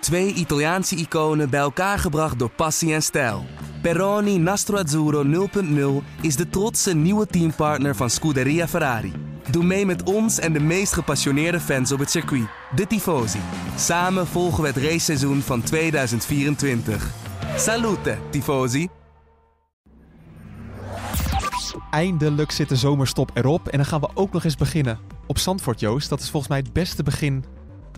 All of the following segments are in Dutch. Twee Italiaanse iconen bij elkaar gebracht door passie en stijl. Peroni Nastro Azzurro 0.0 is de trotse nieuwe teampartner van Scuderia Ferrari. Doe mee met ons en de meest gepassioneerde fans op het circuit, de Tifosi. Samen volgen we het raceseizoen van 2024. Salute, Tifosi! Eindelijk zit de zomerstop erop en dan gaan we ook nog eens beginnen. Op Zandvoort, Joost, dat is volgens mij het beste begin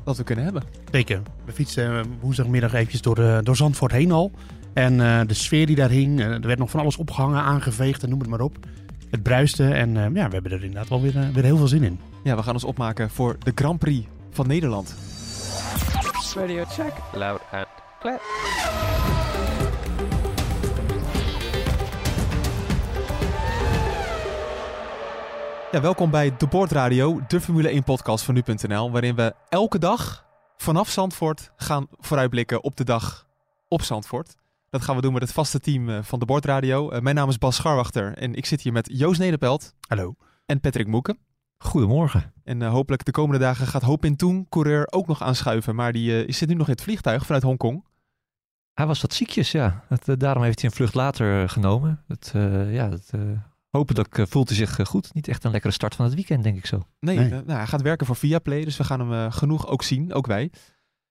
dat we kunnen hebben. Zeker. We fietsten eh, woensdagmiddag eventjes door, eh, door Zandvoort heen al. En eh, de sfeer die daar hing, eh, er werd nog van alles opgehangen, aangeveegd en noem het maar op. Het bruiste en eh, ja, we hebben er inderdaad wel weer, eh, weer heel veel zin in. Ja, we gaan ons opmaken voor de Grand Prix van Nederland. Radio check. Loud and clear. Ja, welkom bij De Board Radio, de Formule 1 podcast van nu.nl, waarin we elke dag vanaf Zandvoort gaan vooruitblikken op de dag op Zandvoort. Dat gaan we doen met het vaste team eh, van De Board Radio. Eh, Mijn naam is Bas Scharwachter en ik zit hier met Joost Nederpelt Hallo. en Patrick Moeken. Goedemorgen. En eh, hopelijk de komende dagen gaat Ho Pin Toen, coureur, ook nog aanschuiven. Maar die eh, zit nu nog in het vliegtuig vanuit Hongkong. Hij was wat ziekjes, ja. Het, eh, daarom heeft hij een vlucht later eh, genomen. Het, eh, ja, het, eh, hopelijk eh, voelt hij zich eh, goed. Niet echt een lekkere start van het weekend, denk ik zo. Komt Nee, Nee. eh, nou, hij gaat werken voor Viaplay, dus we gaan hem eh, genoeg ook zien, ook wij. Ja,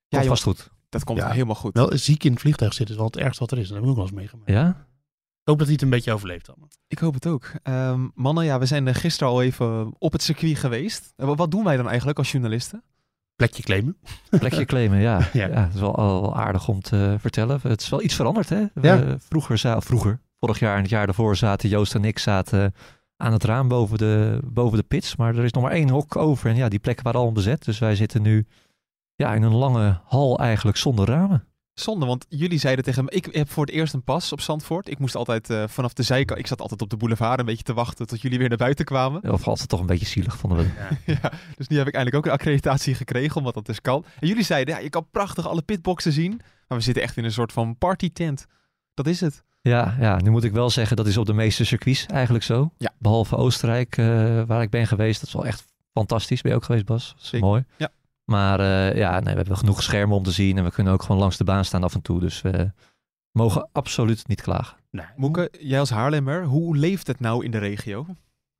ja, jongens, vast goed. dat komt Ja. helemaal goed. Wel ziek in het vliegtuig zitten is wel het ergste wat er is. Dat heb ik ook wel eens meegemaakt. Ja? Ik hoop dat hij het een beetje overleeft allemaal. Ik hoop het ook. Ehm, mannen, ja, we zijn eh, gisteren al even op het circuit geweest. Eh, wa- Wat doen wij dan eigenlijk als journalisten? Plekje claimen. Plekje claimen, ja. Ja. ja. dat is wel, al- wel aardig om te eh, vertellen. Het is wel iets veranderd, hè? We- Ja. Vroeger, za- vroeger, vorig jaar en het jaar daarvoor zaten Joost en ik zaten aan het raam boven de, boven de pits. Maar er is nog maar één hok over. En ja, die plekken waren al bezet. Dus wij zitten nu ja, in een lange hal eigenlijk zonder ramen. Zonde, want jullie zeiden tegen me, ik heb voor het eerst een pas op Zandvoort. Ik moest altijd eh, vanaf de zijkant, ik zat altijd op de boulevard een beetje te wachten tot jullie weer naar buiten kwamen. Of altijd toch een beetje zielig, vonden we. Ja, dus nu heb ik eindelijk ook een accreditatie gekregen, omdat dat dus kan. En jullie zeiden, ja, je kan prachtig alle pitboxen zien. Maar we zitten echt in een soort van partytent. Dat is het. Ja, ja, nu moet ik wel zeggen, dat is op de meeste circuits eigenlijk zo. Ja. Behalve Oostenrijk, eh, waar ik ben geweest. Dat is wel echt fantastisch. Ben je ook geweest, Bas? Dat is Zeker, Mooi. ja. Maar eh, ja, nee, we hebben genoeg schermen om te zien. En we kunnen ook gewoon langs de baan staan af en toe. Dus we mogen absoluut niet klagen. Nee. Moeke, jij als Haarlemmer, hoe leeft het nou in de regio?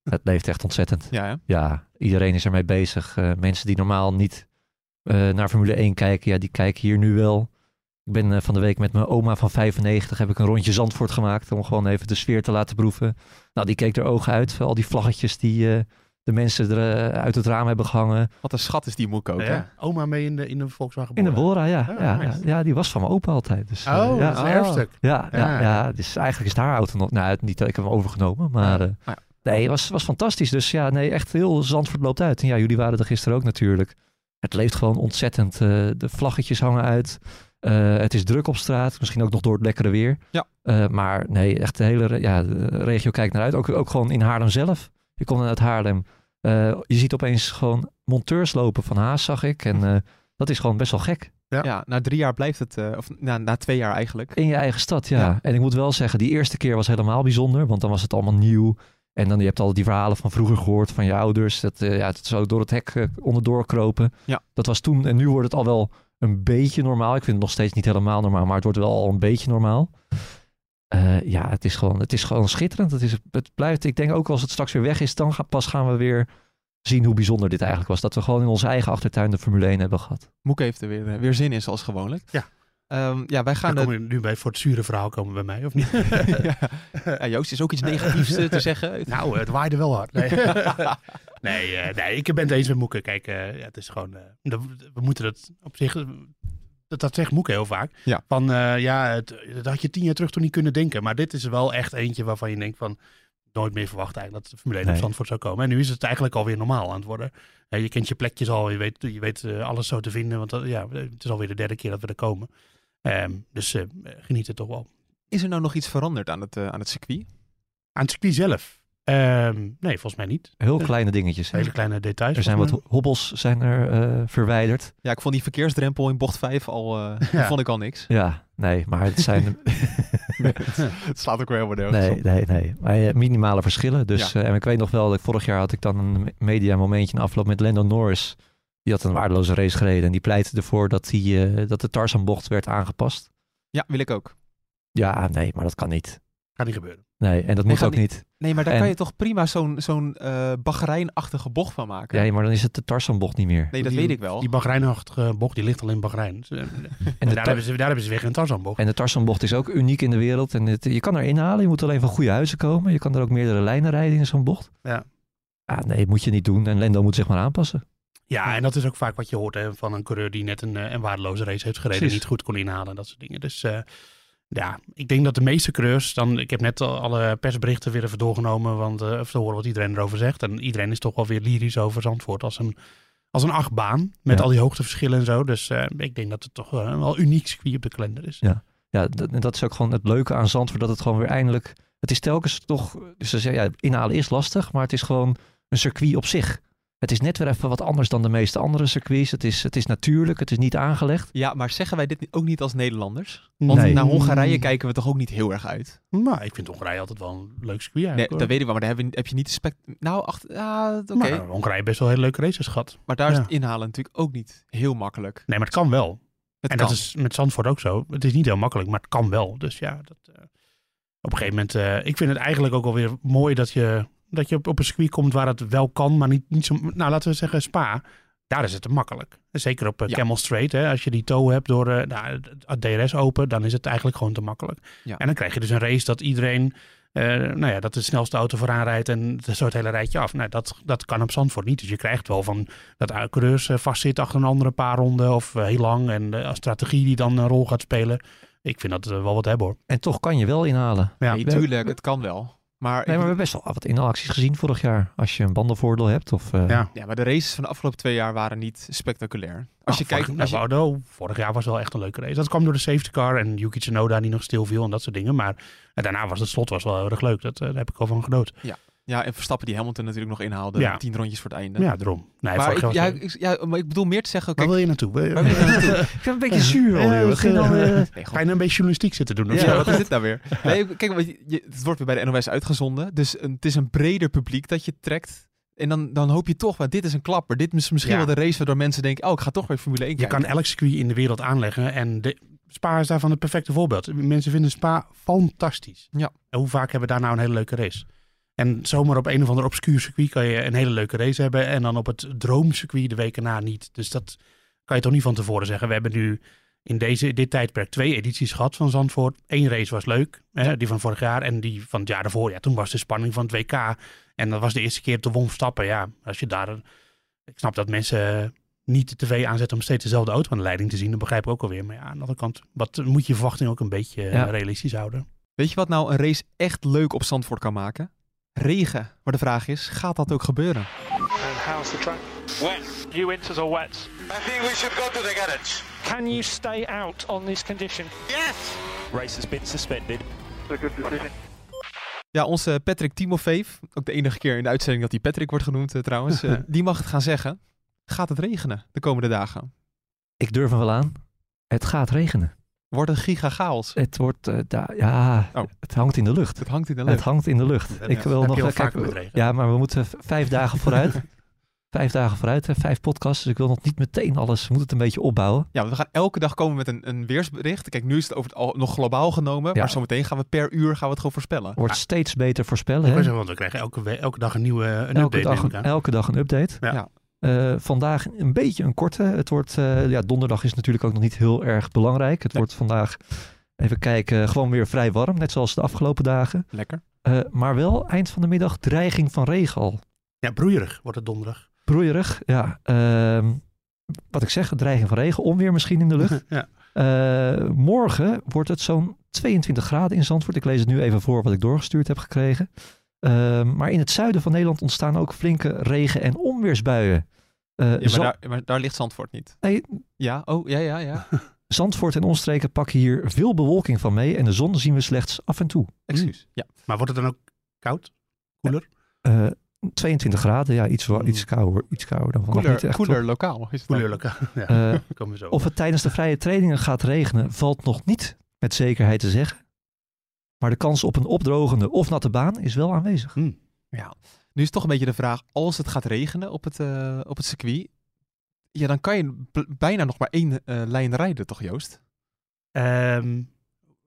Het leeft echt ontzettend. Ja, hè? Ja, iedereen is ermee bezig. Eh, mensen die normaal niet eh, naar Formule 1 kijken, ja, die kijken hier nu wel. Ik ben eh, van de week met mijn oma van 95 heb ik een rondje Zandvoort gemaakt om gewoon even de sfeer te laten proeven. Nou, die keek er ogen uit. van Al die vlaggetjes die eh, de mensen er eh, uit het raam hebben gehangen. Wat een schat is die Moeke ook, hè? Ja. Oma mee in de, in de Volkswagen In de Bora. Bora, ja. Ah, ja, nice. ja, die was van mijn opa altijd. Dus, eh, Oh, ja. dat is een Ah. erfstuk. Ja, ja. Ja. ja, dus eigenlijk is daar auto nog. Nou, het- niet dat ik hem overgenomen, maar. eh, ja. Nee, het was, was fantastisch. Dus ja, nee, echt heel Zandvoort loopt uit. En ja, jullie waren er gisteren ook natuurlijk. Het leeft gewoon ontzettend. Eh, de vlaggetjes hangen uit. Eh, het is druk op straat. Misschien ook nog door het lekkere weer. Ja. Eh, maar nee, echt de hele re- ja, de regio kijkt naar uit. Ook, ook gewoon in Haarlem zelf. Ik kom dan uit Haarlem. Eh, je ziet opeens gewoon monteurs lopen van Haas, zag ik. Hm. En eh, dat is gewoon best wel gek. Ja. Ja, na drie jaar blijft het, eh, of na, na twee jaar eigenlijk. In je eigen stad, ja. Ja. En ik moet wel zeggen, die eerste keer was helemaal bijzonder, want dan was het allemaal nieuw. En dan je hebt al die verhalen van vroeger gehoord, van je ouders, dat, eh, ja, dat zo door het hek eh, onderdoor kropen. Ja. Dat was toen, en nu wordt het al wel een beetje normaal. Ik vind het nog steeds niet helemaal normaal, maar het wordt wel al een beetje normaal. Eh, ja, het is gewoon, het is gewoon schitterend. Het, is, het blijft, ik denk ook als het straks weer weg is, dan ga, pas gaan we weer zien hoe bijzonder dit eigenlijk was. Dat we gewoon in onze eigen achtertuin de Formule 1 hebben gehad. Moeke heeft er weer, eh, weer zin in, zoals gewoonlijk. Ja. Ehm, ja, wij gaan... Dan kom je nu bij voor het zure verhaal komen bij mij, of niet? eh, ja. Ja, Joost, is ook iets negatiefs eh, te zeggen. Nou, het waaide wel hard. Nee, nee, eh, nee, ik ben het eens met Moeke. Kijk, eh, ja, het is gewoon... eh, dat- we moeten dat op zich... eh, Dat, dat zegt Moeke heel vaak. Ja. Van, eh, ja, het, dat had je tien jaar terug toen niet kunnen denken. Maar dit is wel echt eentje waarvan je denkt van... Nooit meer verwacht eigenlijk dat de Formule 1 op Nee. Zandvoort zou komen. En nu is het eigenlijk alweer normaal aan het worden. Ja, je kent je plekjes al, je weet, je weet eh, alles zo te vinden. Want dat- ja, het is alweer de derde keer dat we er komen. Ehm, dus eh, geniet er toch wel. Is er nou nog iets veranderd aan het, eh, aan het circuit? Aan het circuit zelf? Ehm, nee, volgens mij niet. Heel kleine dingetjes. hè. Hele kleine details. eh, Er zijn wat volgens ho- hobbels zijn er, eh, verwijderd. Ja, ik vond die verkeersdrempel in bocht 5 al, eh, Ja. vond ik al niks. Ja, nee, maar het zijn. Het slaat ook weer helemaal nergens nee, nee, nee. Maar eh, minimale verschillen. Dus, eh, en ik weet nog wel, dat ik vorig jaar had ik dan een media momentje in afloop met Lando Norris. Die had een waardeloze race gereden en die pleitte ervoor dat, die, eh, dat de Tarzanbocht werd aangepast. Ja, wil ik ook. Ja, nee, maar dat kan niet. Gaat niet gebeuren. Nee, en dat Nee, moet gaat ook niet. Nee, maar daar En- kan je toch prima zo'n zo'n eh baggerijnachtige bocht van maken? Ja, maar dan is het de Tarzanbocht niet meer. nee, dat Die- weet ik wel. Die Bahreinachtige bocht, die ligt alleen in Bahrein. Ze- En de, daar, tar- hebben ze, daar hebben ze weg een Tarzanbocht. en de Tarzanbocht is ook uniek in de wereld. En het, je kan er inhalen, je moet alleen van goede huizen komen. Je kan er ook meerdere lijnen rijden in zo'n bocht. Ja. Ja, nee, moet je niet doen. En Lendo moet zich maar aanpassen. Ja, en dat is ook vaak wat je hoort hè, van een coureur die net een, eh, een waardeloze race heeft gereden. Precies. Niet goed kon inhalen en dat soort dingen. Dus eh, ja, ik denk dat de meeste coureurs dan... Ik heb net al alle persberichten weer even doorgenomen. Want eh even te horen wat iedereen erover zegt. En iedereen is toch wel weer lyrisch over Zandvoort als een... Als een achtbaan, met Ja. al die hoogteverschillen en zo. Dus eh, ik denk dat het toch eh, wel een uniek circuit op de kalender is. Ja, dat, en dat is ook gewoon het leuke aan Zandvoort. Dat het gewoon weer eindelijk... Het is telkens toch... Dus ze zeggen, ja, inhalen is lastig. Maar het is gewoon een circuit op zich. Het is net weer even wat anders dan de meeste andere circuits. Het is, het is natuurlijk. Het is niet aangelegd. Ja, maar zeggen wij dit ni- ook niet als Nederlanders? Want naar Hongarije kijken we toch ook niet heel erg uit? Hmm. Nou, ik vind Hongarije altijd wel een leuk circuit Nee, eigenlijk. dat hoor. weet ik wel, maar daar heb je, heb je niet de spec... Nou, achter... Ah, oké. Maar Hongarije heeft best wel hele leuke races gehad. maar daar is Nou, ja. het inhalen natuurlijk ook niet heel makkelijk. Nee, maar het kan wel. Het en kan. dat is met Zandvoort ook zo. Het is niet heel makkelijk, maar het kan wel. Dus ja, dat, eh, op een gegeven moment... eh, ik vind het eigenlijk ook alweer mooi dat je, dat je op, op een circuit komt waar het wel kan, maar niet, niet zo... Nou, laten we zeggen Spa. Daar is het te makkelijk. Zeker op eh, Ja. Camel Straight. Hè, als je die tow hebt door eh, nou, het DRS open, dan is het eigenlijk gewoon te makkelijk. Ja. En dan krijg je dus een race dat iedereen... eh, nou ja, dat de snelste auto vooraan rijdt en dat soort hele rijtje af. Nou, dat, dat kan op Zandvoort niet. Dus je krijgt wel van dat eh, coureurs eh, vastzitten achter een andere paar ronden of eh, heel lang. En de strategie die dan een rol gaat spelen. Ik vind dat eh, wel wat hebben hoor. En toch kan je wel inhalen. Ja. Nee, tuurlijk, het kan wel. Maar, Nee, maar ik- we hebben best wel wat inhaalacties gezien vorig jaar. Als je een bandenvoordeel hebt. Of, eh, Ja. Ja, maar de races van de afgelopen twee jaar waren niet spectaculair. Als je Nou, vorig- kijkt... Als je, nou, Woudo, vorig jaar was wel echt een leuke race. Dat kwam door de safety car en Yuki Tsunoda die nog stil viel en dat soort dingen. Maar eh, daarna was het slot was wel heel erg leuk. Dat, eh, daar heb ik al van genoten. ja, en Verstappen die Hamilton natuurlijk nog inhaalde. Ja. Tien rondjes voor het einde. Ja, daarom. Nee, maar, ik, vorig jaar was ja, het leuk. ik, ja, maar ik bedoel meer te zeggen... Waar Kijk, wil je naartoe? Wil je- waar wil je naartoe? Ik vind het een beetje zuur al, Ja, dat joh. Het ging is, dan, eh, eh, Nee, Ga gewoon- je nou een beetje journalistiek zitten doen? of Ja, zo? wat is dit nou weer? Nee, kijk, want je, je- het wordt weer bij de NOS uitgezonden. Dus een, het is een breder publiek dat je trekt. En dan, dan hoop je toch, maar dit is een klapper. Dit is misschien Ja. wel de race waardoor mensen denken... Oh, ik ga toch weer Formule 1 Je kijken. kan elk circuit in de wereld aanleggen. En de, Spa is daarvan het perfecte voorbeeld. Mensen vinden Spa fantastisch. Ja. En hoe vaak hebben we daar nou een hele leuke race? En zomaar op een of ander obscuur circuit kan je een hele leuke race hebben. En dan op het droomcircuit de weken na niet. Dus dat kan je toch niet van tevoren zeggen. We hebben nu in deze, dit tijdperk twee edities gehad van Zandvoort. Eén race was leuk, hè, die van vorig jaar. En die van het jaar daarvoor, ja, toen was de spanning van het WK. En dat was de eerste keer te won stappen. Ja, als je daar... een- Ik snap dat mensen niet de tv aanzetten om steeds dezelfde auto aan de leiding te zien. Dat begrijp ik ook alweer. Maar ja, aan de andere kant, wat moet je verwachting ook een beetje eh, Ja. realistisch houden? Weet je wat nou een race echt leuk op Zandvoort kan maken? Regen. Maar de vraag is, gaat dat ook gebeuren? And how's the track? Wet. You winters are wet. I think we should go to the garage. Can you stay out on this condition? Yes. Race has been suspended. Ja, onze Patrick Timofeev, ook de enige keer in de uitzending dat hij Patrick wordt genoemd eh, trouwens, eh, die mag het gaan zeggen. Gaat het regenen de komende dagen? Ik durf hem wel aan. Het gaat regenen. Wordt een giga chaos. Het wordt, eh, da- ja, Oh. het hangt in de lucht. Het hangt in de Het lucht. hangt in de lucht. Dat ik heb wil je nog heel eh, vaak kijken- met regen. Ja, maar we moeten v- vijf dagen vooruit. vijf dagen vooruit, hè, vijf podcasts. Dus ik wil nog niet meteen alles. We moeten het een beetje opbouwen. Ja, want we gaan elke dag komen met een, een weersbericht. Kijk, nu is het over het al, nog globaal genomen, Ja. maar zometeen gaan we per uur gaan we het gewoon voorspellen. Wordt steeds beter voorspellen. Ah. Ik wou Hè? zeggen, want we krijgen elke, we- elke dag een nieuwe eh, een elke, update. dag, neem ik een- aan. elke dag een update. Ja. Ja. Eh, vandaag een beetje een korte. Het wordt, eh, ja, donderdag is natuurlijk ook nog niet heel erg belangrijk. Het Nee. wordt vandaag, even kijken, gewoon weer vrij warm. Net zoals de afgelopen dagen. Lekker. Eh, maar wel eind van de middag dreiging van regen al. Ja, broeierig wordt het donderdag. Broeierig, ja. Ehm, wat ik zeg, dreiging van regen. Onweer misschien in de lucht. ja. Eh, morgen wordt het zo'n 22 graden in Zandvoort. Ik lees het nu even voor wat ik doorgestuurd heb gekregen. Ehm, maar in het zuiden van Nederland ontstaan ook flinke regen- en onweersbuien. Eh, Ja, maar, Zand- daar, maar daar ligt Zandvoort niet. Nee. Ja, oh, ja, ja, ja. Zandvoort en omstreken pakken hier veel bewolking van mee. En de zon zien we slechts af en toe. Excuus. Ja. Maar wordt het dan ook koud? Eh, 22 graden, ja, iets, wa- Hmm. iets, kouder, iets kouder dan vandaag. Niet Cooler, echt, cooler lokaal is het dan. Koeleurlijk. Ja, hoor. Eh, komen we zo. Of het tijdens de vrije trainingen gaat regenen, valt nog niet met zekerheid te zeggen. Maar de kans op een opdrogende of natte baan is wel aanwezig. Hmm. Ja, nu is toch een beetje de vraag, als het gaat regenen op het, eh, op het circuit, Ja, dan kan je b- bijna nog maar één eh, lijn rijden, toch Joost? Ehm,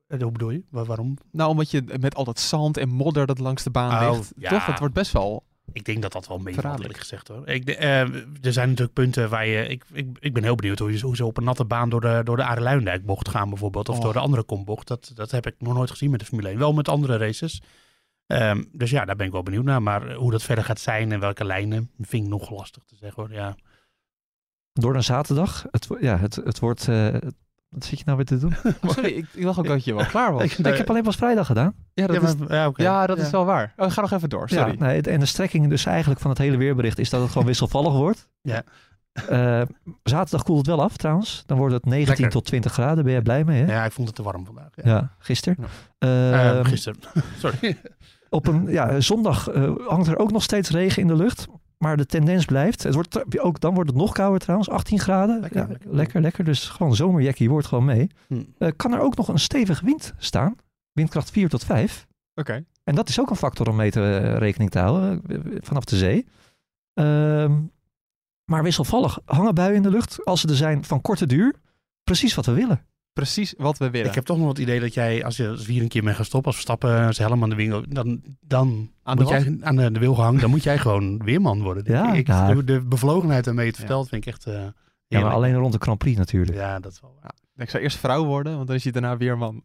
eh, hoe bedoel je? Wa- waarom? Nou, omdat je met al dat zand en modder dat langs de baan Oh, ligt. ja. Toch, dat wordt best wel... Ik denk dat dat wel meevalt, Verraderlijk. eerlijk gezegd. Hoor. Ik, de- eh, er zijn natuurlijk punten waar je... Ik, ik, ik ben heel benieuwd hoe je hoe ze op een natte baan door de, door de Aardeluindijk bocht gaan bijvoorbeeld. Of Oh. door de andere kombocht. Dat, dat heb ik nog nooit gezien met de Formule 1. Wel met andere races. Ehm, dus ja, daar ben ik wel benieuwd naar. Maar eh, hoe dat verder gaat zijn en welke lijnen, vind ik nog lastig te zeggen hoor. Ja. Door naar zaterdag. Het, wo- ja, het, het wordt... eh, wat zit je nou weer te doen? Oh, sorry, ik, ik dacht ook dat je wel klaar was. Ik- Nee, ik heb alleen pas vrijdag gedaan. Ja, dat, ja, is, maar- ja, oké. ja, dat is wel waar. Oh, ga nog even door, sorry. Ja, nee, het- en de strekking dus eigenlijk van het hele weerbericht is dat het gewoon wisselvallig wordt. Ja. Eh, zaterdag koelt het wel af trouwens. Dan wordt het 19 Lekker. tot 20 graden. Ben jij blij mee? Hè? Ja, ik vond het te warm vandaag. Ja. Ja, gisteren. Eh, Eh, gisteren. Sorry. Op een ja, zondag eh, hangt er ook nog steeds regen in de lucht. Maar de tendens blijft. Het wordt, tr- ook, dan wordt het nog kouder trouwens. 18 graden. Lekker, Ja, lekker. lekker, lekker. Dus gewoon zomerjackie wordt gewoon mee. Hm. Eh, kan er ook nog een stevige wind staan. Windkracht 4 tot 5. Oké. En dat is ook een factor om mee te eh, rekening te houden eh, vanaf de zee. Ehm, maar wisselvallig hangen buien in de lucht als ze er zijn van korte duur. Precies wat we willen. Precies wat we willen. Ik heb toch nog het idee dat jij, als je als we hier een keer mee gaan stoppen, als we stappen, zijn helm aan de winkel, dan, dan Aan de moet wat? jij aan de, de wil gehangen, dan moet jij gewoon weerman worden. denk Ja, ik. Ik- nou. de, de bevlogenheid waarmee je het Ja. vertelt, vind ik echt. eh, Ja, maar heerlijk. alleen rond de Grand Prix natuurlijk. Ja, dat is wel waar. Ik zou eerst vrouw worden, want dan is je daarna weer man.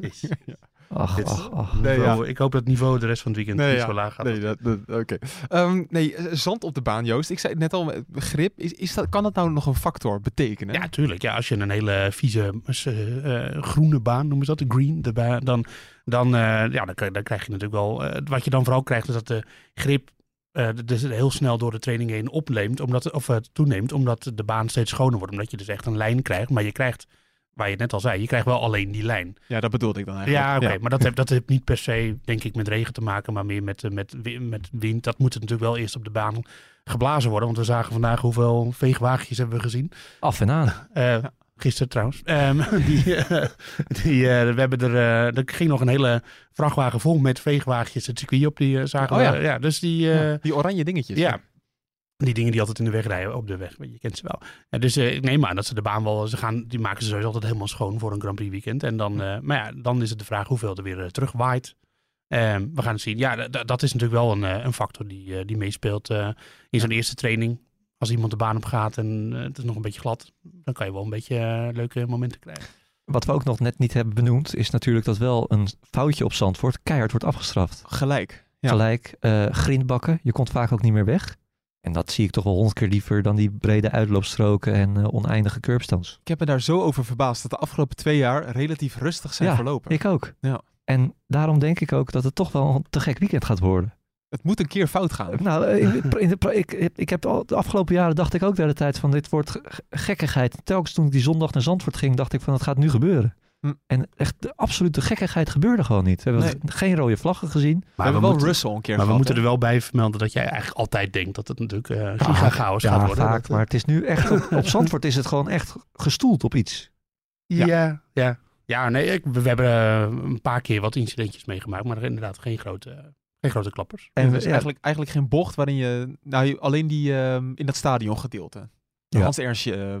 Is. Ja. Ach, Dit- ach, ach. Nee, Niveau- Ik hoop dat het niveau de rest van het weekend Nee, niet ja. zo laag gaat. Nee, dat, dat- oké. Ehm, nee, eh, zand op de baan, Joost. Ik zei het net al, eh, grip. Is, is dat, kan dat nou nog een factor betekenen? Ja, tuurlijk. Ja, als je een hele vieze eh, eh, groene baan, noemen ze dat, de green, de baan, dan, dan, eh, ja, dan, k- dan krijg je natuurlijk wel... eh, wat je dan vooral krijgt is dat de grip eh, d- dus heel snel door de training heen opneemt, omdat, of eh, toeneemt, omdat de baan steeds schoner wordt. Omdat je dus echt een lijn krijgt, maar je krijgt, waar je het net al zei, je krijgt wel alleen die lijn. Ja, dat bedoelde ik dan eigenlijk. Ja, oké. Maar dat heeft, dat heeft niet per se, denk ik, met regen te maken, maar meer met, eh, met, wi- met wind. Dat moet het natuurlijk wel eerst op de baan geblazen worden, want we zagen vandaag hoeveel veegwaagjes hebben we gezien. Af en aan. Eh, Gisteren trouwens. Ehm, die, eh, die, eh, we hebben er, eh, er ging nog een hele vrachtwagen vol met veegwaagjes het circuit op. Die eh, zagen Oh we. ja. Ja, dus die, eh, Ja, Die oranje dingetjes. ja. Die dingen die altijd in de weg rijden, op de weg, je kent ze wel. En dus eh, ik neem aan dat ze de baan wel, ze gaan, die maken ze sowieso altijd helemaal schoon voor een Grand Prix weekend. En dan, eh, maar ja, dan is het de vraag hoeveel er weer eh, terugwaait. Ehm, we gaan het zien. Ja, d- d- dat is natuurlijk wel een, eh, een factor die, eh, die meespeelt eh, in zo'n eerste training. Als iemand de baan op gaat en eh, het is nog een beetje glad, dan kan je wel een beetje eh, leuke momenten krijgen. Wat we ook nog net niet hebben benoemd, is natuurlijk dat wel een foutje op Zandvoort keihard wordt afgestraft. Gelijk. Ja. Gelijk, eh, grindbakken, je komt vaak ook niet meer weg. En dat zie ik toch wel honderd keer liever dan die brede uitloopstroken en eh, oneindige curbstones. Ik heb me daar zo over verbaasd dat de afgelopen twee jaar relatief rustig zijn Ja, verlopen. Ik ook. Ja. En daarom denk ik ook dat het toch wel een te gek weekend gaat worden. Het moet een keer fout gaan. Nou, eh, in de pra- in de pra- ik, ik, ik heb al, de afgelopen jaren dacht ik ook de hele tijd van dit wordt ge- gekkigheid. Telkens toen ik die zondag naar Zandvoort ging, dacht ik van het gaat nu gebeuren. Hm. En echt de absolute gekkigheid gebeurde gewoon niet. We hebben Nee. g- geen rode vlaggen gezien. we hebben wel moeten, Russell een keer maar we gehad, moeten er wel bij vermelden dat jij eigenlijk altijd denkt dat het natuurlijk eh giga chaos gaat worden. vaak. Dat, eh, maar het is nu echt, op, op Zandvoort is het gewoon echt gestoeld op iets. Ja. Ja, ja. ja. nee, ik, we hebben eh, een paar keer wat incidentjes meegemaakt, maar er inderdaad geen grote, geen grote klappers. En En we- dus ja, eigenlijk, eigenlijk geen bocht waarin je... Nou, je- alleen die ehm, in dat stadion gedeelte. Ja. Hans Ernstje, eh,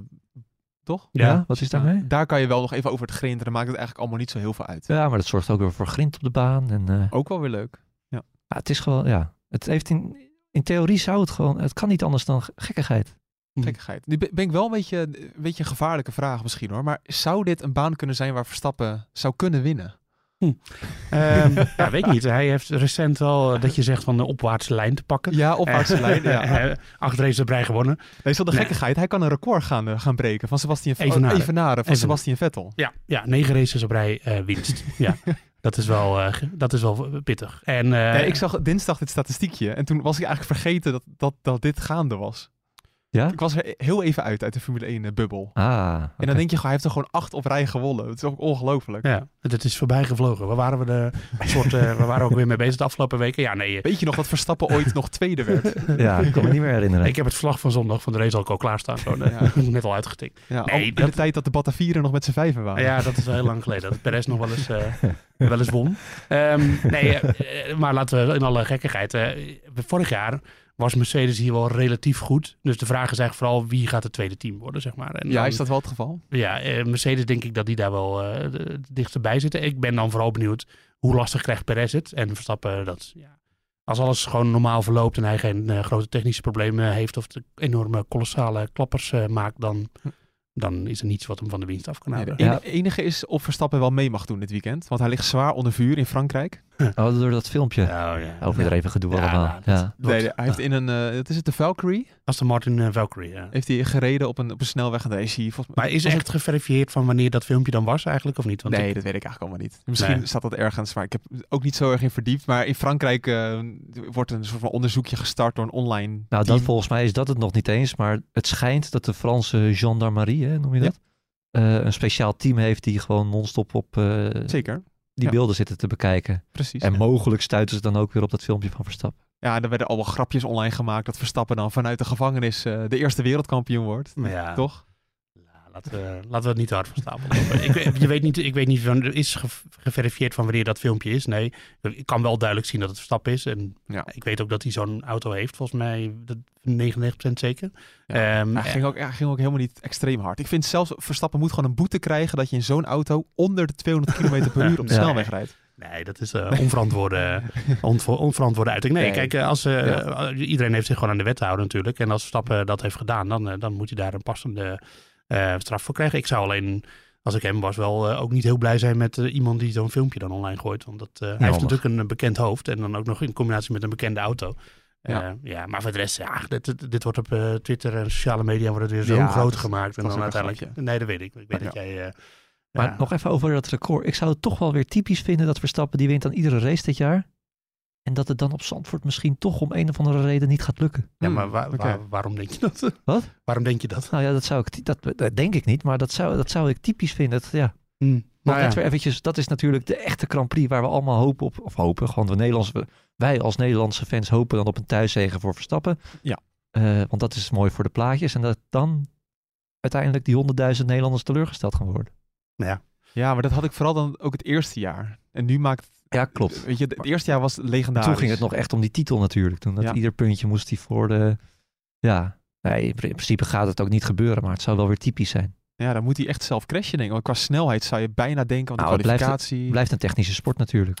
toch? ja, wat is daarmee? Daar kan je wel nog even over het grind en dan maakt het eigenlijk allemaal niet zo heel veel uit. Ja, maar dat zorgt ook weer voor grind op de baan. En, eh, Ook wel weer leuk. Ja, het is gewoon, ja. Het heeft in, in theorie zou het gewoon, het kan niet anders dan g- gekkigheid. Gekkigheid. Nu ben ben ik wel een beetje, een beetje een gevaarlijke vraag misschien hoor. Maar zou dit een baan kunnen zijn waar Verstappen zou kunnen winnen? Ehm, ja, weet ik niet. Hij heeft recent al eh, dat je zegt van de opwaartse lijn te pakken. Ja, opwaartse lijn. Ja. Eh, Acht races op rij gewonnen. Nee, zonder Nee. gekkigheid. Hij kan een record gaan, eh, gaan breken van Sebastian oh, Evenaren. Evenaren van Evenaren. Sebastian Vettel. Ja, ja negen races op rij eh, winst. ja, dat is wel, eh, ge- dat is wel pittig. En, eh, Nee, ik zag dinsdag dit statistiekje en toen was ik eigenlijk vergeten dat, dat, dat dit gaande was. Ja? Ik was er heel even uit uit de Formule 1-bubbel. Ah. En oké. dan denk je, gewoon, hij heeft er gewoon acht op rij gewonnen. Dat is ook ongelooflijk. ja, het is voorbij gevlogen. Waar waren we, de soort, eh, we waren ook weer mee bezig de afgelopen weken. Ja, nee, eh, Weet je nog dat Verstappen ooit nog tweede werd? Ja, ik kan me niet meer herinneren. ik heb het vlag van zondag van de race al, al klaarstaan. Gewoon, eh, Ja. net al uitgetikt. Ja, Nee, al in de dat- tijd dat de Batavieren nog met z'n vijven waren. Ja, dat is wel heel lang geleden. Dat Perez nog wel eens, eh, wel eens won. Ehm, nee, eh, eh, maar laten we in alle gekkigheid. eh, vorig jaar was Mercedes hier wel relatief goed. Dus de vraag is eigenlijk vooral wie gaat het tweede team worden, zeg maar. En Ja, dan- is dat wel het geval? ja, eh, Mercedes denk ik dat die daar wel eh, de- het dichtst bij zitten. Ik ben dan vooral benieuwd hoe lastig krijgt Perez het. En Verstappen, dat, ja, als alles gewoon normaal verloopt en hij geen eh, grote technische problemen heeft of de enorme kolossale klappers eh, maakt, dan, dan is er niets wat hem van de winst af kan Hm. Nee, de houden. ene- enige is of Verstappen wel mee mag doen dit weekend. Want hij ligt zwaar onder vuur in Frankrijk. Oh, door dat filmpje. Nou, ja. Overdreven gedoe Ja, allemaal. nou, dat ja. wordt- Nee, hij heeft in een, eh, wat is het, de Valkyrie? Aston Martin eh, Valkyrie, ja. Heeft hij gereden op een, op een snelweg en daar is hij volgens mij... Maar is echt geverifieerd van wanneer dat filmpje dan was eigenlijk, of niet? Want nee, ik- dat weet ik eigenlijk allemaal niet. Misschien Nee. staat dat ergens, maar ik heb er ook niet zo erg in verdiept. Maar in Frankrijk eh, wordt een soort van onderzoekje gestart door een online Nou, team. dat, volgens mij is dat het nog niet eens. Maar het schijnt dat de Franse gendarmerie, hè, noem je dat? eh, een speciaal team heeft die gewoon non-stop op eh, Zeker, die ja. beelden zitten te bekijken. precies. En mogelijk stuiten ze dan ook weer op dat filmpje van Verstappen. Ja, er werden al wel grapjes online gemaakt dat Verstappen dan vanuit de gevangenis eh, de eerste wereldkampioen wordt. Maar ja, Toch? Ja, laten, we, laten we het niet te hard van stapel lopen. ik, je weet niet, ik weet niet, van, is ge- geverifieerd van wanneer dat filmpje is? Nee, ik kan wel duidelijk zien dat het Verstappen is. En Ja. ik weet ook dat hij zo'n auto heeft, volgens mij dat 99% zeker. Ja. Ehm, Hij ging, ook, hij ging ook helemaal niet extreem hard. Ik vind zelfs, Verstappen moet gewoon een boete krijgen dat je in zo'n auto onder de 200 km per uur op de Ja. snelweg rijdt. Nee, dat is eh, onverantwoorde, onvo- onverantwoorde uiting. Nee, Nee. kijk, eh, als, eh, Ja. iedereen heeft zich gewoon aan de wet te houden natuurlijk. En als Verstappen dat heeft gedaan, dan, eh, dan moet hij daar een passende eh, straf voor krijgen. Ik zou alleen, als ik hem was, wel eh, ook niet heel blij zijn met eh, iemand die zo'n filmpje dan online gooit. Want dat, eh, hij heeft handig. natuurlijk een eh, bekend hoofd en dan ook nog in combinatie met een bekende auto. Eh, Ja. ja. maar voor de rest, ja, dit, dit- dit wordt op eh, Twitter en sociale media wordt het weer zo Ja, groot dat- gemaakt. En was dan ook een uiteindelijk, nee, dat weet ik. Ik weet Ja. dat jij... eh, Maar ja. nog even over dat record. Ik zou het toch wel weer typisch vinden dat Verstappen die wint aan iedere race dit jaar. En dat het dan op Zandvoort misschien toch om een of andere reden niet gaat lukken. Ja, Hmm, maar waar- oké. waar- waarom denk je dat? Wat? Waarom denk je dat? Nou ja, dat zou ik, ty- dat, dat denk ik niet, maar dat zou, dat zou ik typisch vinden. Dat, ja. Want Nou ja. laten we eventjes, dat is natuurlijk de echte Grand Prix waar we allemaal hopen op, of hopen, gewoon de Nederlandse, we- wij als Nederlandse fans hopen dan op een thuiszegen voor Verstappen. Ja. Eh, want dat is mooi voor de plaatjes en dat dan uiteindelijk die 100.000 Nederlanders teleurgesteld gaan worden. Ja, maar dat had ik vooral dan ook het eerste jaar. En nu maakt, Ja, klopt. weet je, het eerste jaar was legendarisch. Toen ging dus. het nog echt om die titel natuurlijk. Toen dat Ja. ieder puntje moest die voor de, ja, nee, in principe gaat het ook niet gebeuren, maar het zou wel weer typisch zijn. Ja, dan moet hij echt zelf crashen denk ik. Want qua snelheid zou je bijna denken, want Nou, de het blijft- kwalificatie... Het blijft een technische sport natuurlijk.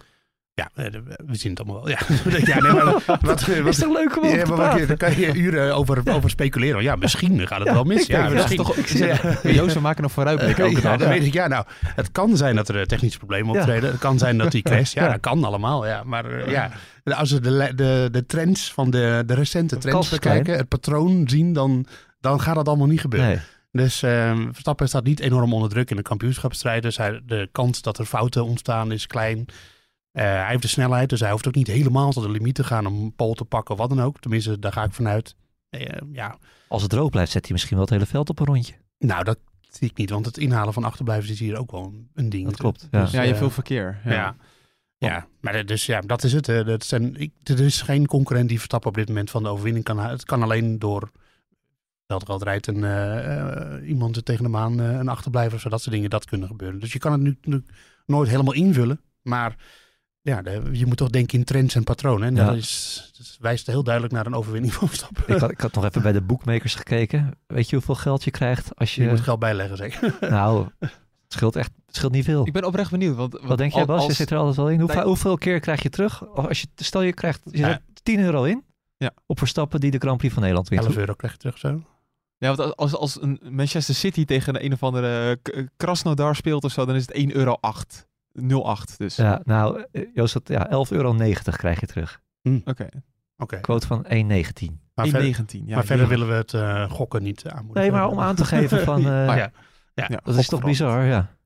Ja, eh, de- we zien het allemaal wel. Ja, ja nee, maar wat, wat, is toch leuk om over ja, te maar wat- praten? daar kan je uren over, over speculeren. Ja, misschien gaat het wel mis. Ja, Ja, maar dat is misschien. toch... Ik zeg, Joost, we maken een vooruitblik Ja, elke dag. dan weet ik, ja, nou, het kan zijn dat er eh, technische problemen Ja. optreden. Het kan zijn dat die crash, ja, Ja. dat kan allemaal. Ja. Maar eh, ja, als we de, le- de, de trends van de, de recente kans trends is klein. bekijken, het patroon zien, dan, dan gaat dat allemaal niet gebeuren. Nee. Dus eh, Verstappen staat niet enorm onder druk in de kampioenschapsstrijd. Dus hij, de kans dat er fouten ontstaan is klein. Eh, hij heeft de snelheid, dus hij hoeft ook niet helemaal tot de limiet te gaan om een pole te pakken of wat dan ook. Tenminste, daar ga ik vanuit. Eh, ja, Als het droog blijft, zet hij misschien wel het hele veld op een rondje. nou dat zie ik niet, want het inhalen van achterblijvers is hier ook wel een- een ding. Dat klopt. Ja. Dus, Ja, je hebt eh, veel verkeer. Ja. ja. maar dat- dus ja, dat is het. hè. Dat zijn, ik, er is geen concurrent die Verstappen op dit moment van de overwinning kan halen. Het kan alleen door veldgeld rijdt en eh, eh, iemand tegen de maan eh, een achterblijver of zo, dat soort dingen, dat kunnen gebeuren. Dus je kan het nu, nu nooit helemaal invullen, maar ja, de- je moet toch denken in trends en patronen. En Ja. dat, is, dat wijst heel duidelijk naar een overwinning van Verstappen. Ik, had, ik had nog even bij de boekmakers gekeken. Weet je hoeveel geld je krijgt als Je moet je... geld bijleggen, zeker. Nou, het scheelt echt het scheelt niet veel. Ik ben oprecht benieuwd. Want, Wat denk jij Bas? Je zit er altijd wel in. Hoeveel, Nee. hoeveel keer krijg je terug? Of Als je, stel je krijgt je Ja. zet 10 euro in Ja. op Verstappen die de Grand Prix van Nederland wint. 11 euro krijg je terug zo. Ja, want als, als een Manchester City tegen een, een of andere K- Krasnodar speelt of zo, dan is het 1,08 euro. 0,8 dus. Ja, nou, eh, Joost, dat- ja, 11,90 euro krijg je terug. Oké, Oké, Quote van 1,19. maar, 1,19. verder- ja, maar verder ja. willen we het eh, gokken niet aanmoedigen. Nee, maar om aan te geven van... eh, Ah, ja. Ja, Ja, Dat is toch gokverhaal. bizar, ja.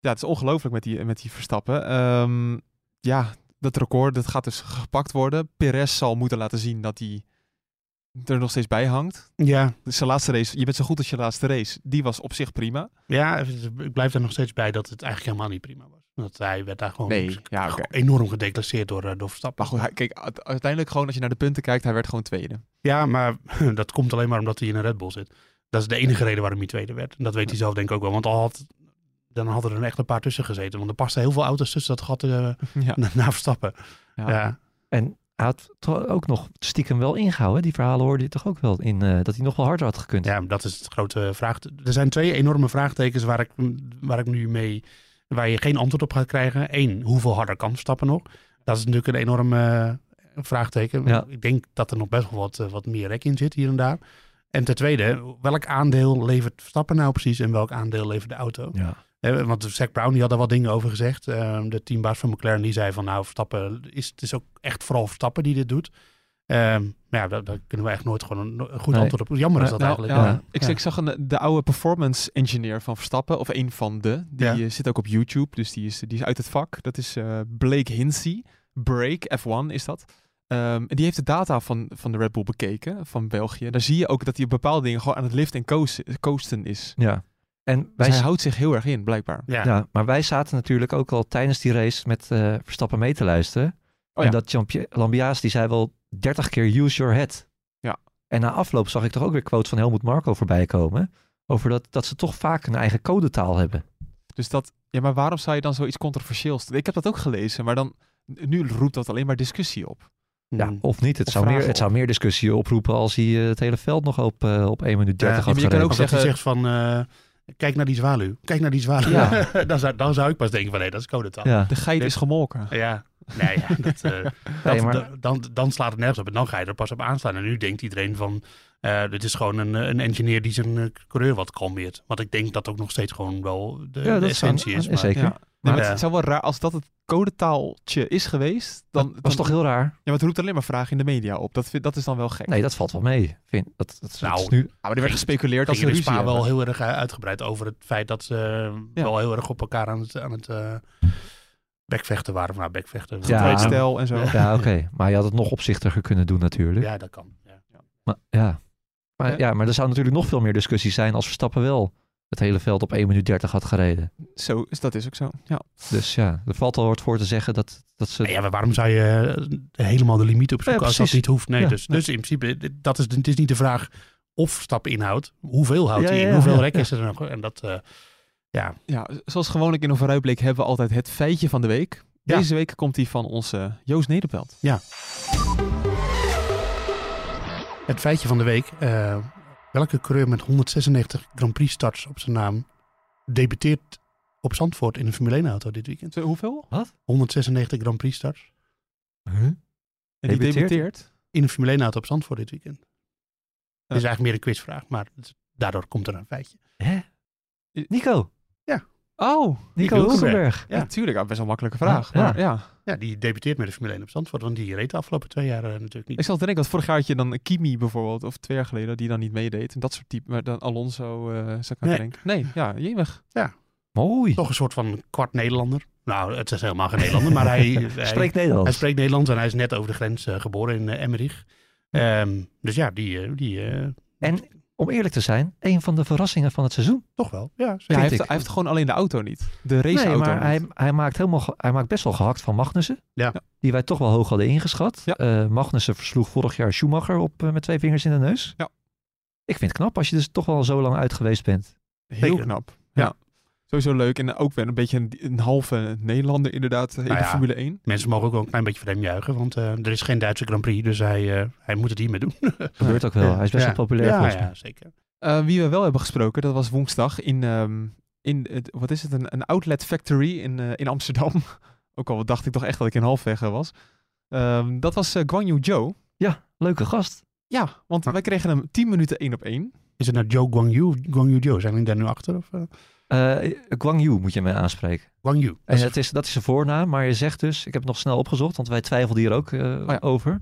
Ja, het is ongelooflijk met die, met die Verstappen. Ehm, ja, dat record dat gaat dus gepakt worden. Perez zal moeten laten zien dat hij er nog steeds bij hangt. Ja, Dus zijn laatste race, je bent zo goed als je laatste race, die was op zich prima. Ja, ik blijf daar nog steeds bij dat het eigenlijk helemaal niet prima was. Dat hij werd daar gewoon Nee, ja, oké. enorm gedeclasseerd door, eh, door Verstappen. Maar goed, hij- kijk, u- uiteindelijk gewoon als je naar de punten kijkt, hij werd gewoon tweede. Ja, maar dat komt alleen maar omdat hij in een Red Bull zit. Dat is de enige reden waarom hij tweede werd. En dat weet hij zelf denk ik ook wel. Want al had, dan hadden er echt een paar tussen gezeten. Want er pasten heel veel auto's tussen dat gat eh, Ja. na- naar Verstappen. Ja. Ja. En Hij had toch ook nog stiekem wel ingehouden. hè? Die verhalen hoorde je toch ook wel in eh, dat hij nog wel harder had gekund. Ja, maar dat is het grote vraag. Er zijn twee enorme vraagtekens waar ik, waar ik nu mee, waar je geen antwoord op gaat krijgen. Eén, hoeveel harder kan Verstappen nog? Dat is natuurlijk een enorme eh, vraagteken. Ja. Ik denk dat er nog best wel wat, eh, wat meer rek in zit hier en daar. En ten tweede, welk aandeel levert Verstappen nou precies en welk aandeel levert de auto? Ja. Hè, want Zac Brown die had daar wat dingen over gezegd. Ehm, de teambaas van McLaren die zei van nou Verstappen, is, het is ook echt vooral Verstappen die dit doet. Ehm, maar ja, daar, daar kunnen we echt nooit gewoon een, een goed Nee. antwoord op. Jammer is Nou, dat nou, eigenlijk. ja. Ja. Ik, Ja. ik zag een, de oude performance engineer van Verstappen, of een van de. Die Ja. eh, zit ook op YouTube, dus die is, die is uit het vak. Dat is eh, Blake Hinsey. Break, F1 is dat. Ehm, en die heeft de data van, van de Red Bull bekeken, van België. Daar zie je ook dat hij op bepaalde dingen gewoon aan het lift en coast- coasten is. Ja. En Dus wij, hij houdt zich heel erg in, blijkbaar. Ja. ja, maar wij zaten natuurlijk ook al tijdens die race met eh, Verstappen mee te luisteren. Oh ja. En dat Champie- Lambiaas, die zei wel 30 keer use your head. Ja. En na afloop zag ik toch ook weer quotes van Helmut Marco voorbij komen. Over dat, dat ze toch vaak een eigen codetaal hebben. Dus dat, ja, maar waarom zou je dan zoiets controversieels doen? Ik heb dat ook gelezen, maar dan, nu roept dat alleen maar discussie op. Ja, Mm. of niet. Het, Of zou meer, vragen het op. zou meer discussie oproepen als hij eh, het hele veld nog op, eh, op 1 minuut 30 Ja, maar had je kan gereden. ook Of dat hij zeggen- zegt van, eh, kijk naar die zwaluw. Kijk naar die zwaluw. Ja. dan, zou, dan zou ik pas denken van, nee, dat is codetaal. Ja. Ja, De geit is gemolken. Nee, ja, dat, eh, nee, dat- maar, da- dan, dan slaat het nergens op en dan ga je er pas op aanslaan. En nu denkt iedereen van, eh, dit is gewoon een, eh, een engineer die zijn eh, coureur wat kalmeert. Want ik denk dat ook nog steeds gewoon wel de, ja, de dat is aan- essentie is. aan- maar- Zeker. Ja. Nee, maar Ja. het zou wel raar als dat het codetaaltje is geweest. Dan, dat dan- was toch heel raar? Ja, maar het roept alleen maar vragen in de media op. Dat, vind- dat is dan wel gek. Nee, dat valt wel mee. Vind, dat, dat, Nou, dat is nu, Ah, maar er werd gespeculeerd dat dat ging ze ruzie er in Spa hebben. wel heel erg eh, uitgebreid over het feit dat ze eh, Ja. wel heel erg op elkaar aan het, aan het eh bekvechten waren. Of nou, bekvechten. Ja. Tweede stijl en zo. Ja. ja, oké. Maar je had het nog opzichtiger kunnen doen natuurlijk. Ja, dat kan. Ja. Maar, ja. Ja. Maar, ja, maar er zou natuurlijk nog veel meer discussie zijn als Verstappen wel het hele veld op 1 minuut 30 had gereden. Zo, is- dat is ook zo. Ja. Dus ja, er valt al wat voor te zeggen dat, dat ze... Nou Ja, maar waarom zou je eh, helemaal de limiet opzoeken Ja, als dat precies. niet hoeft? Nee, Ja, dus, ja. dus in principe, dit- dat is, de- het is niet de vraag of stap inhoudt. Hoeveel houdt Ja, hij ja, in? ja, Hoeveel ja, rek ja. is er nog? En dat, eh, ja, ja, zoals gewoonlijk in een vooruitblik hebben we altijd het feitje van de week. Ja. Deze week komt die van onze Joost Nederpelt. het feitje van de week. eh, welke coureur met 196 Grand Prix starts op zijn naam debuteert op Zandvoort in een Formule 1 auto dit weekend? Zo, Hoeveel? 196 Grand Prix starts Huh? En die Debuteert? debuteert. in een Formule 1 auto op Zandvoort dit weekend. Het is Ja. eigenlijk meer een quizvraag, maar het- daardoor komt er een feitje. Hè? Nico. Oh, Nico Hulkenberg. Hulkenberg. Ja. natuurlijk. Ah, best wel een makkelijke vraag. Ja, ja. Maar, ja. Ja, die debuteert met de Formule 1 op Zandvoort, want die reed de afgelopen twee jaar eh, natuurlijk niet. Ik zat te denken, dat vorig jaar had je dan Kimi bijvoorbeeld, of twee jaar geleden, die dan niet meedeed. En dat soort type. Maar dan Alonso, eh zou ik aan Nee. denken. Nee, ja, jemig. Mooi. Toch een soort van kwart Nederlander. Nou, het is helemaal geen Nederlander, maar hij, hij, Spreekt Nederlands. hij spreekt Nederlands en hij is net over de grens eh, geboren in eh, Emmerich. Ehm, dus ja, die, eh, die eh, En om eerlijk te zijn, een van de verrassingen van het seizoen. toch wel. Ja, Ja, zeker. hij, Vind heeft, ik. hij heeft gewoon alleen de auto niet. De raceauto. Nee, maar niet. hij, hij, maakt helemaal, ge- hij maakt best wel gehakt van Magnussen. Ja. Die wij toch wel hoog hadden ingeschat. Ja. Eh, Magnussen versloeg vorig jaar Schumacher op, eh, met twee vingers in de neus. Ja. Ik vind het knap als je dus toch wel zo lang uit geweest bent. Heel Zeker. knap. Ja. Ja. Sowieso leuk. En ook weer een beetje een, een halve Nederlander inderdaad eh, in de Nou ja. Formule 1. Mensen mogen ook wel een klein beetje voor hem juichen, want eh, er is geen Duitse Grand Prix, dus hij, eh, hij moet het hiermee doen. Gebeurt ook wel. Hij is best Ja. wel populair Ja, volgens mij. ja, zeker. Eh, wie we wel hebben gesproken, dat was woensdag in, ehm, in het, wat is het, een, een outlet factory in, eh, in Amsterdam. ook al dacht ik toch echt dat ik in halfweg eh, was. Ehm, dat was eh Guan Yu Zhou. Ja, leuke gast. Ja, want Maar- wij kregen hem 10 minuten één op één. Is het nou Joe Guangyu of Guangyu Joe? Zijn we daar nu achter? Of, eh? Eh Guang Yu moet je mij aanspreken. Guangyu. Dat En is- het is, dat is zijn voornaam, maar je zegt dus, ik heb het nog snel opgezocht, want wij twijfelden hier ook eh, Oh over.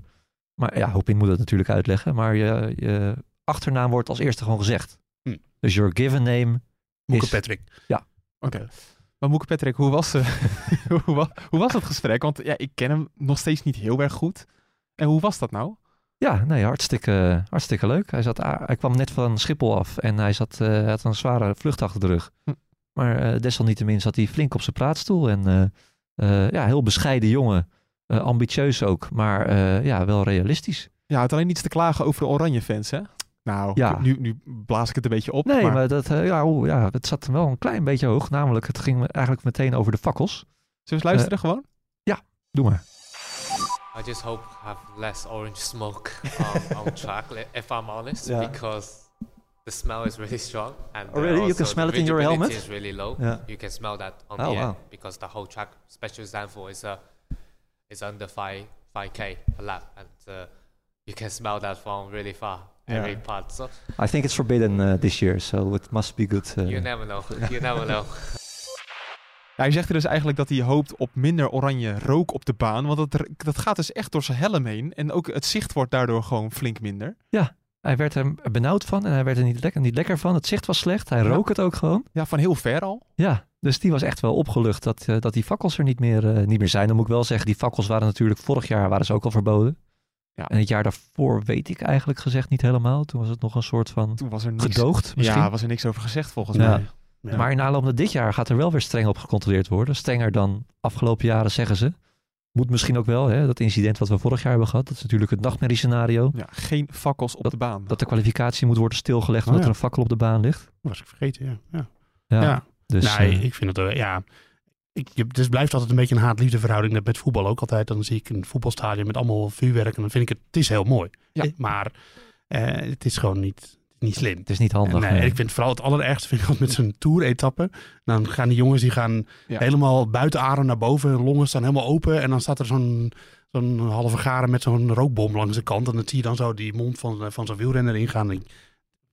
Maar ja, Hopin moet het natuurlijk uitleggen. Maar je, je achternaam wordt als eerste gewoon gezegd. Hm. Dus your given name. Moeke is- Patrick. Oké. Maar Moeke Patrick, hoe was, eh, hoe, wa- hoe was dat gesprek? Want ja, ik ken hem nog steeds niet heel erg goed. En hoe was dat nou? Ja, nee, hartstikke, hartstikke leuk. Hij, zat, a- hij kwam net van Schiphol af en hij zat, eh, hij had een zware vlucht achter de rug. Hm. Maar eh, desalniettemin zat hij flink op zijn praatstoel. En eh, eh, ja, heel bescheiden jongen. Eh, ambitieus ook, maar eh, ja, wel realistisch. Ja, het alleen niets te klagen over de Oranje fans, hè? Nou, Ja. nu, nu blaas ik het een beetje op. Nee, maar, maar, dat, eh, ja, oeh, ja, het zat hem wel een klein beetje hoog. Namelijk, het ging me eigenlijk meteen over de fakkels. Eh, Zullen we eens luisteren gewoon? Doe maar. I just hope I have less orange smoke um, on track, li- if I'm honest, Yeah. because the smell is really strong. And Oh, uh, really? You can also smell the it in your visibility helmet? is really low. Yeah. You can smell that on Oh, the air wow. because the whole track, especially Zandvoort, is uh, is under five five k a lap, and uh, you can smell that from really far Yeah. every part. So I think it's forbidden uh, this year, so it must be good. uh, you never know. You never know. Ja, hij zegt er dus eigenlijk dat hij hoopt op minder oranje rook op de baan. Want dat, r- dat gaat dus echt door zijn helm heen. En ook het zicht wordt daardoor gewoon flink minder. Hij werd er benauwd van en hij werd er niet lekker, niet lekker van. Het zicht was slecht, hij Ja. rook het ook gewoon. Ja, van heel ver al. Ja, dus die was echt wel opgelucht dat, eh, dat die fakkels er niet meer, eh, niet meer zijn. Dan moet ik wel zeggen, die fakkels waren natuurlijk vorig jaar waren ze ook al verboden. Ja. En het jaar daarvoor weet ik eigenlijk gezegd niet helemaal. Toen was het nog een soort van Toen was er niks. gedoogd misschien. Ja, was er niks over gezegd volgens Ja. mij. Ja. Maar in aanloop naar dit jaar gaat er wel weer streng op gecontroleerd worden. Strenger dan afgelopen jaren zeggen ze. Moet misschien ook wel, hè, dat incident wat we vorig jaar hebben gehad. Dat is natuurlijk het nachtmerriescenario. Ja, geen fakkels op de baan. Dat de kwalificatie moet worden stilgelegd Oh, omdat ja. er een fakkel op de baan ligt. was ik vergeten, ja. ja. Ja. Ja. Dus, nee, eh, ik vind het, eh, ja... Ik, je- het is- blijft altijd een beetje een haat-liefde verhouding. Net met voetbal ook altijd. Dan zie ik een voetbalstadion met allemaal vuurwerk. En dan vind ik het, het is heel mooi. Ja. Eh, Maar eh, het is gewoon niet, niet slim. het is niet handig. nee, nee. ik vind vooral het allerergste vind ik altijd met zo'n tour-etappe. Dan gaan die jongens die gaan Ja. helemaal buiten adem naar boven. Hun longen staan helemaal open. En dan staat er zo'n zo'n halve garen met zo'n rookbom langs de kant. En dan zie je dan zo die mond van, van zo'n wielrenner ingaan. Ik-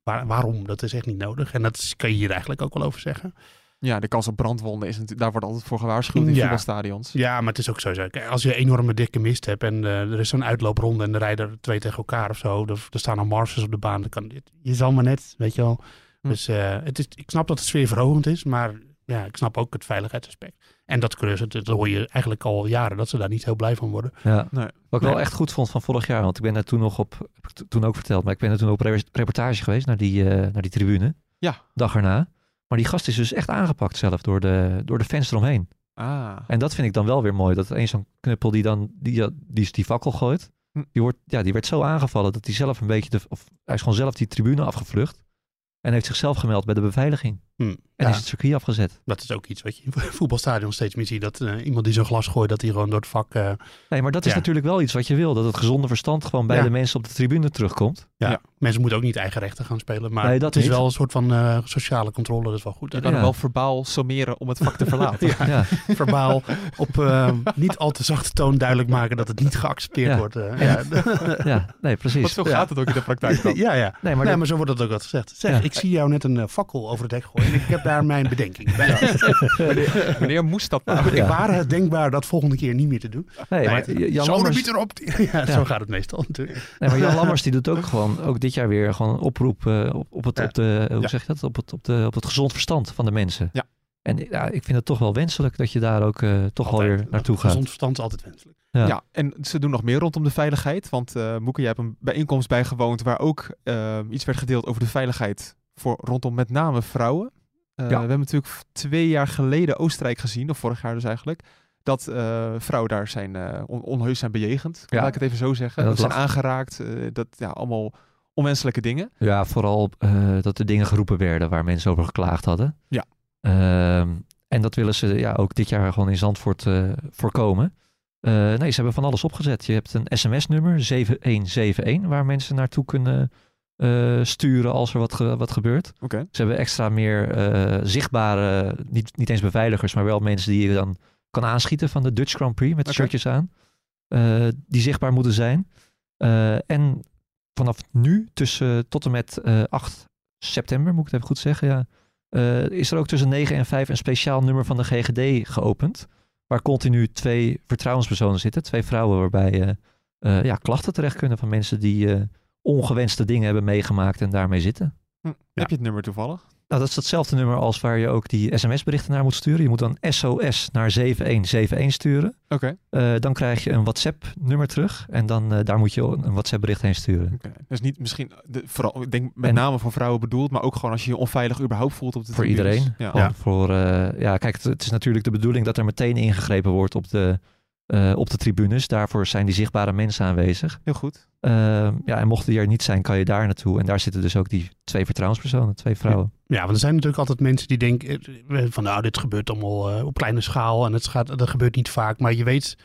Waar, waarom? Dat is echt niet nodig. En dat is- kan je hier eigenlijk ook wel over zeggen. Ja, de kans op brandwonden is natuurlijk... Daar wordt altijd voor gewaarschuwd in Ja. voetbalstadions. Ja, maar het is ook sowieso. Kijk, Als je enorme dikke mist hebt en eh, er is zo'n uitloopronde en er rijden er twee tegen elkaar of zo. Er, er staan al marses op de baan. Dan kan, je zal maar net, weet je wel. Hm. Dus eh, het is, ik snap dat het sfeerverhogend is, maar ja, ik snap ook het veiligheidsaspect. En dat kunnen ze, dat hoor je eigenlijk al jaren, dat ze daar niet heel blij van worden. Ja. Nee. Wat ik wel Nee. echt goed vond van vorig jaar, want ik ben daar toen nog op, heb ik to- toen ook verteld, maar ik ben daar toen op re- reportage geweest naar die, eh, naar die tribune. Ja. Dag erna. Maar die gast is dus echt aangepakt zelf door de, door de fans eromheen. Ah. En dat vind ik dan wel weer mooi. Dat één zo'n knuppel die dan die, die, die fakkel gooit, Hm. die, wordt, ja, die werd zo aangevallen dat hij zelf een beetje, de, of hij is gewoon zelf die tribune afgevlucht. En heeft zichzelf gemeld bij de beveiliging. Hm. Ja. En is het circuit afgezet. Dat is ook iets wat je in voetbalstadion steeds meer ziet. Dat eh, iemand die zo'n glas gooit, dat hij gewoon door het vak... eh, Nee, maar dat is Ja. natuurlijk wel iets wat je wil. Dat het gezonde verstand gewoon bij Ja. de mensen op de tribune terugkomt. ja. Ja. Mensen moeten ook niet eigen rechten gaan spelen. Maar Nee, dat het is niet. wel een soort van eh, sociale controle. Dat is wel goed. Je kan Ja. hem wel verbaal sommeren om het vak te verlaten. Ja. Ja. verbaal op eh, niet al te zachte toon duidelijk maken dat het niet geaccepteerd Ja. wordt. eh. Ja. ja. ja, nee, precies. Want zo Ja. gaat het ook in de praktijk dan. ja, ja. Nee, maar nee, dat- maar zo wordt dat ook altijd gezegd. Zeg, Ja. ik zie jou net een eh, fakkel over het hek gooien. en Ik heb daar mijn bedenking bij. Wanneer moest dat nou? Ik Oh, Ja. waren het denkbaar dat volgende keer niet meer te doen. Nee, Maar maar het- Jan zo Lammers, niet erop. Ja, Zo gaat het meestal natuurlijk. nee, maar Jan Lammers die doet ook gewoon, ook dit jaar weer gewoon een oproep eh, op, op het, Ja. op de, eh, hoe Ja. zeg je dat, op het, op de, op het gezond verstand van de mensen. Ja. En eh, ja, ik vind het toch wel wenselijk dat je daar ook eh, toch wel Altijd. weer naartoe gaat. Gezond verstand is altijd wenselijk. Ja. Ja. en ze doen nog meer rondom de veiligheid. Want eh Moeke, jij hebt een bijeenkomst bijgewoond waar ook eh, iets werd gedeeld over de veiligheid voor rondom met name vrouwen. Eh, Ja. We hebben natuurlijk v- twee jaar geleden Oostenrijk gezien, of vorig jaar dus eigenlijk, dat eh, vrouwen daar zijn eh, on- onheus zijn bejegend. Ja. Laat ik het even zo zeggen. Ja, dat dat zijn lag- aangeraakt, eh, dat ja, allemaal onwenselijke dingen. Ja, vooral eh, dat er dingen geroepen werden waar mensen over geklaagd hadden. Ja. Ehm, en dat willen ze ja, ook dit jaar gewoon in Zandvoort eh, voorkomen. Eh, nee, ze hebben van alles opgezet. Je hebt een sms-nummer, 7171, waar mensen naartoe kunnen eh, sturen als er wat, ge- wat gebeurt. Oké. Ze hebben extra meer eh, zichtbare, niet, niet eens beveiligers, maar wel mensen die je dan kan aanschieten van de Dutch Grand Prix met Oké. shirtjes aan. eh, die zichtbaar moeten zijn. Eh, en vanaf nu, tussen, tot en met eh, 8 september, moet ik het even goed zeggen, ja, eh, is er ook tussen 9 en 5 een speciaal nummer van de GGD geopend. Waar continu twee vertrouwenspersonen zitten, twee vrouwen waarbij eh, eh, ja, klachten terecht kunnen van mensen die eh, ongewenste dingen hebben meegemaakt en daarmee zitten. Hm, Heb je het nummer toevallig? Nou, dat is hetzelfde nummer als waar je ook die sms-berichten naar moet sturen. Je moet dan SOS naar 7171 sturen. Oké. Eh, dan krijg je een WhatsApp-nummer terug. En dan eh, daar moet je een WhatsApp-bericht heen sturen. Oké. Dus niet misschien, de, vooral, ik denk met En- name voor vrouwen bedoeld, maar ook gewoon als je je onveilig überhaupt voelt op de Voor tribunes. iedereen. Ja. Gewoon Voor, eh, ja, kijk, het, het is natuurlijk de bedoeling dat er meteen ingegrepen wordt op de, eh, op de tribunes. Daarvoor zijn die zichtbare mensen aanwezig. Heel goed. Eh, ja, en mocht die er niet zijn, kan je daar naartoe. En daar zitten dus ook die twee vertrouwenspersonen, twee vrouwen. Ja, want er zijn natuurlijk altijd mensen die denken eh, van nou, dit gebeurt allemaal eh, op kleine schaal en het gaat, dat gebeurt niet vaak. Maar je weet,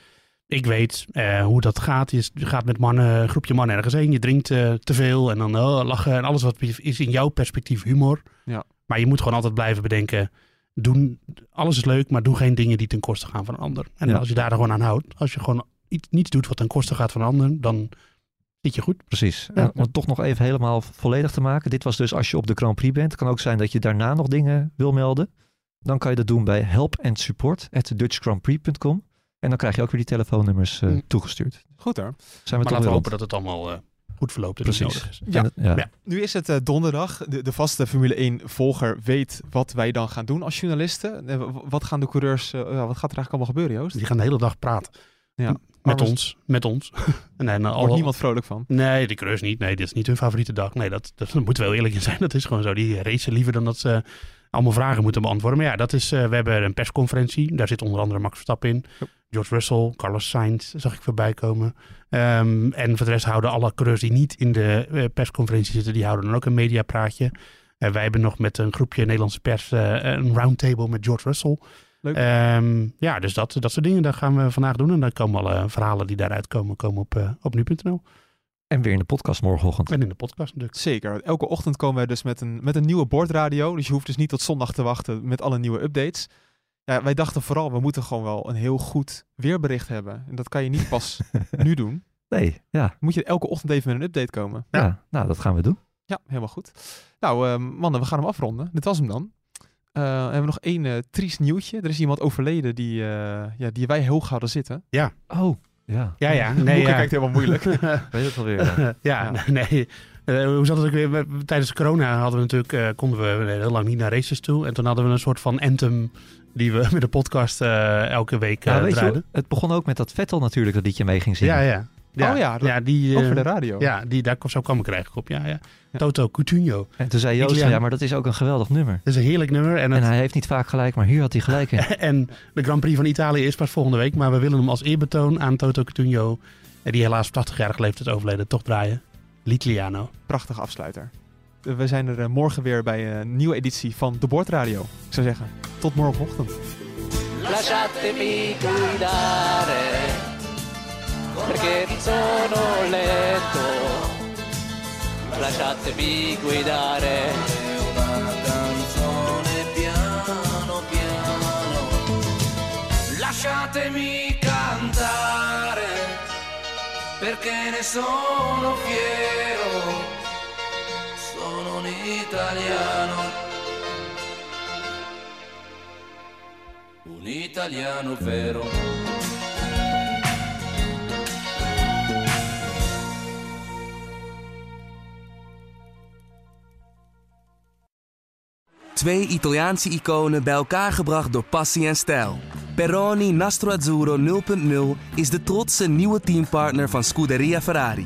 ik weet eh, hoe dat gaat. Je gaat met mannen, een groepje mannen ergens heen. Je drinkt eh, te veel en dan oh, lachen. En alles wat is in jouw perspectief humor. Ja. Maar je moet gewoon altijd blijven bedenken. Doen, alles is leuk, maar doe geen dingen die ten koste gaan van een ander. En Ja. als je daar gewoon aan houdt. Als je gewoon iets, niets doet wat ten koste gaat van een ander. Dan zit je goed. Precies. En om het toch nog even helemaal volledig te maken. Dit was dus als je op de Grand Prix bent. kan ook zijn dat je daarna nog dingen wil melden. Dan kan je dat doen bij help and support at dutchgrandprix.com. En dan krijg je ook weer die telefoonnummers eh, Hm. toegestuurd. Goed hoor. Zijn we maar toch laten weer we rond. hopen dat het allemaal eh, goed verloopt. En niet Precies. nodig is. Ja. En dat- ja. Ja. Nu is het eh, donderdag. De, de vaste Formule 1 volger weet wat wij dan gaan doen als journalisten. Eh, w- wat gaan de coureurs, eh, ja, wat gaat er eigenlijk allemaal gebeuren Joost? Die gaan de hele dag praten. Ja. Met Armes- ons. Met ons. en, en, Wordt niemand vrolijk van. Nee, de creurs niet. Nee, dit is niet hun favoriete dag. Nee, dat, dat daar moeten we wel eerlijk in zijn. Dat is gewoon zo. Die racen liever dan dat ze allemaal vragen moeten beantwoorden. Maar ja, dat is, eh, we hebben een persconferentie. Daar zit onder andere Max Verstappen in. George Russell, Carlos Sainz zag ik voorbij komen. Ehm, en voor de rest houden alle coureurs die niet in de eh, persconferentie zitten, die houden dan ook een mediapraatje. En wij hebben nog met een groepje Nederlandse pers eh, een roundtable met George Russell. Leuk. Ehm, ja, dus dat, dat soort dingen, dat gaan we vandaag doen. En dan komen alle verhalen die daaruit komen, komen op, eh, op nu.nl. En weer in de podcast morgenochtend. En in de podcast natuurlijk. Zeker. Elke ochtend komen wij dus met een, met een nieuwe bordradio. Dus je hoeft dus niet tot zondag te wachten met alle nieuwe updates. Ja, wij dachten vooral, we moeten gewoon wel een heel goed weerbericht hebben. En dat kan je niet pas nu doen. Nee, ja, Moet je elke ochtend even met een update komen. ja. Ja. Nou, dat gaan we doen. Ja, helemaal goed. Nou, eh, mannen, we gaan hem afronden. Dit was hem dan. Eh, we hebben nog één eh triest nieuwtje. Er is iemand overleden die, eh, ja, die wij hoog hadden zitten. Oh, ja. Ja, ja. Nee, Nee, ja. kijkt helemaal moeilijk. Weet het alweer. ja. ja, nee. Eh, hoe zat het ook weer? We- Tijdens corona hadden we natuurlijk, eh, konden we heel lang niet naar races toe. En toen hadden we een soort van anthem die we met de podcast eh, elke week eh Ja, weet je, draaiden. het begon ook met dat Vettel natuurlijk dat liedje mee ging zingen. Ja, ja. ja. Oh ja, dat- ja die, eh, Over de radio. ja, die, daar, zo kwam ik er eigenlijk op. Ja, ja. Ja. Toto Coutinho. En toen zei Joost, Italiaan. van, ja, maar dat is ook een geweldig nummer. Dat is een heerlijk nummer. En, het- En hij heeft niet vaak gelijk, maar hier had hij gelijk in. en de Grand Prix van Italië is pas volgende week. Maar we willen hem als eerbetoon aan Toto Coutinho, eh, die helaas op 80-jarige leeftijd overleden, toch draaien. Litliano. Prachtige afsluiter. Eh, We zijn er eh, morgen weer bij eh, een nieuwe editie van De Bordradio. Ik zou zeggen, tot morgenochtend. lasciatemi guidare, perché sono letto. Lasciatemi guidare. Una canzone piano piano. Lasciatemi cantare, perché ne sono fiero. Sono un italiano. un italiano vero. Twee Italiaanse iconen bij elkaar gebracht door passie en stijl. Peroni Nastro Azzurro 0.0 is de trotse nieuwe teampartner van Scuderia Ferrari.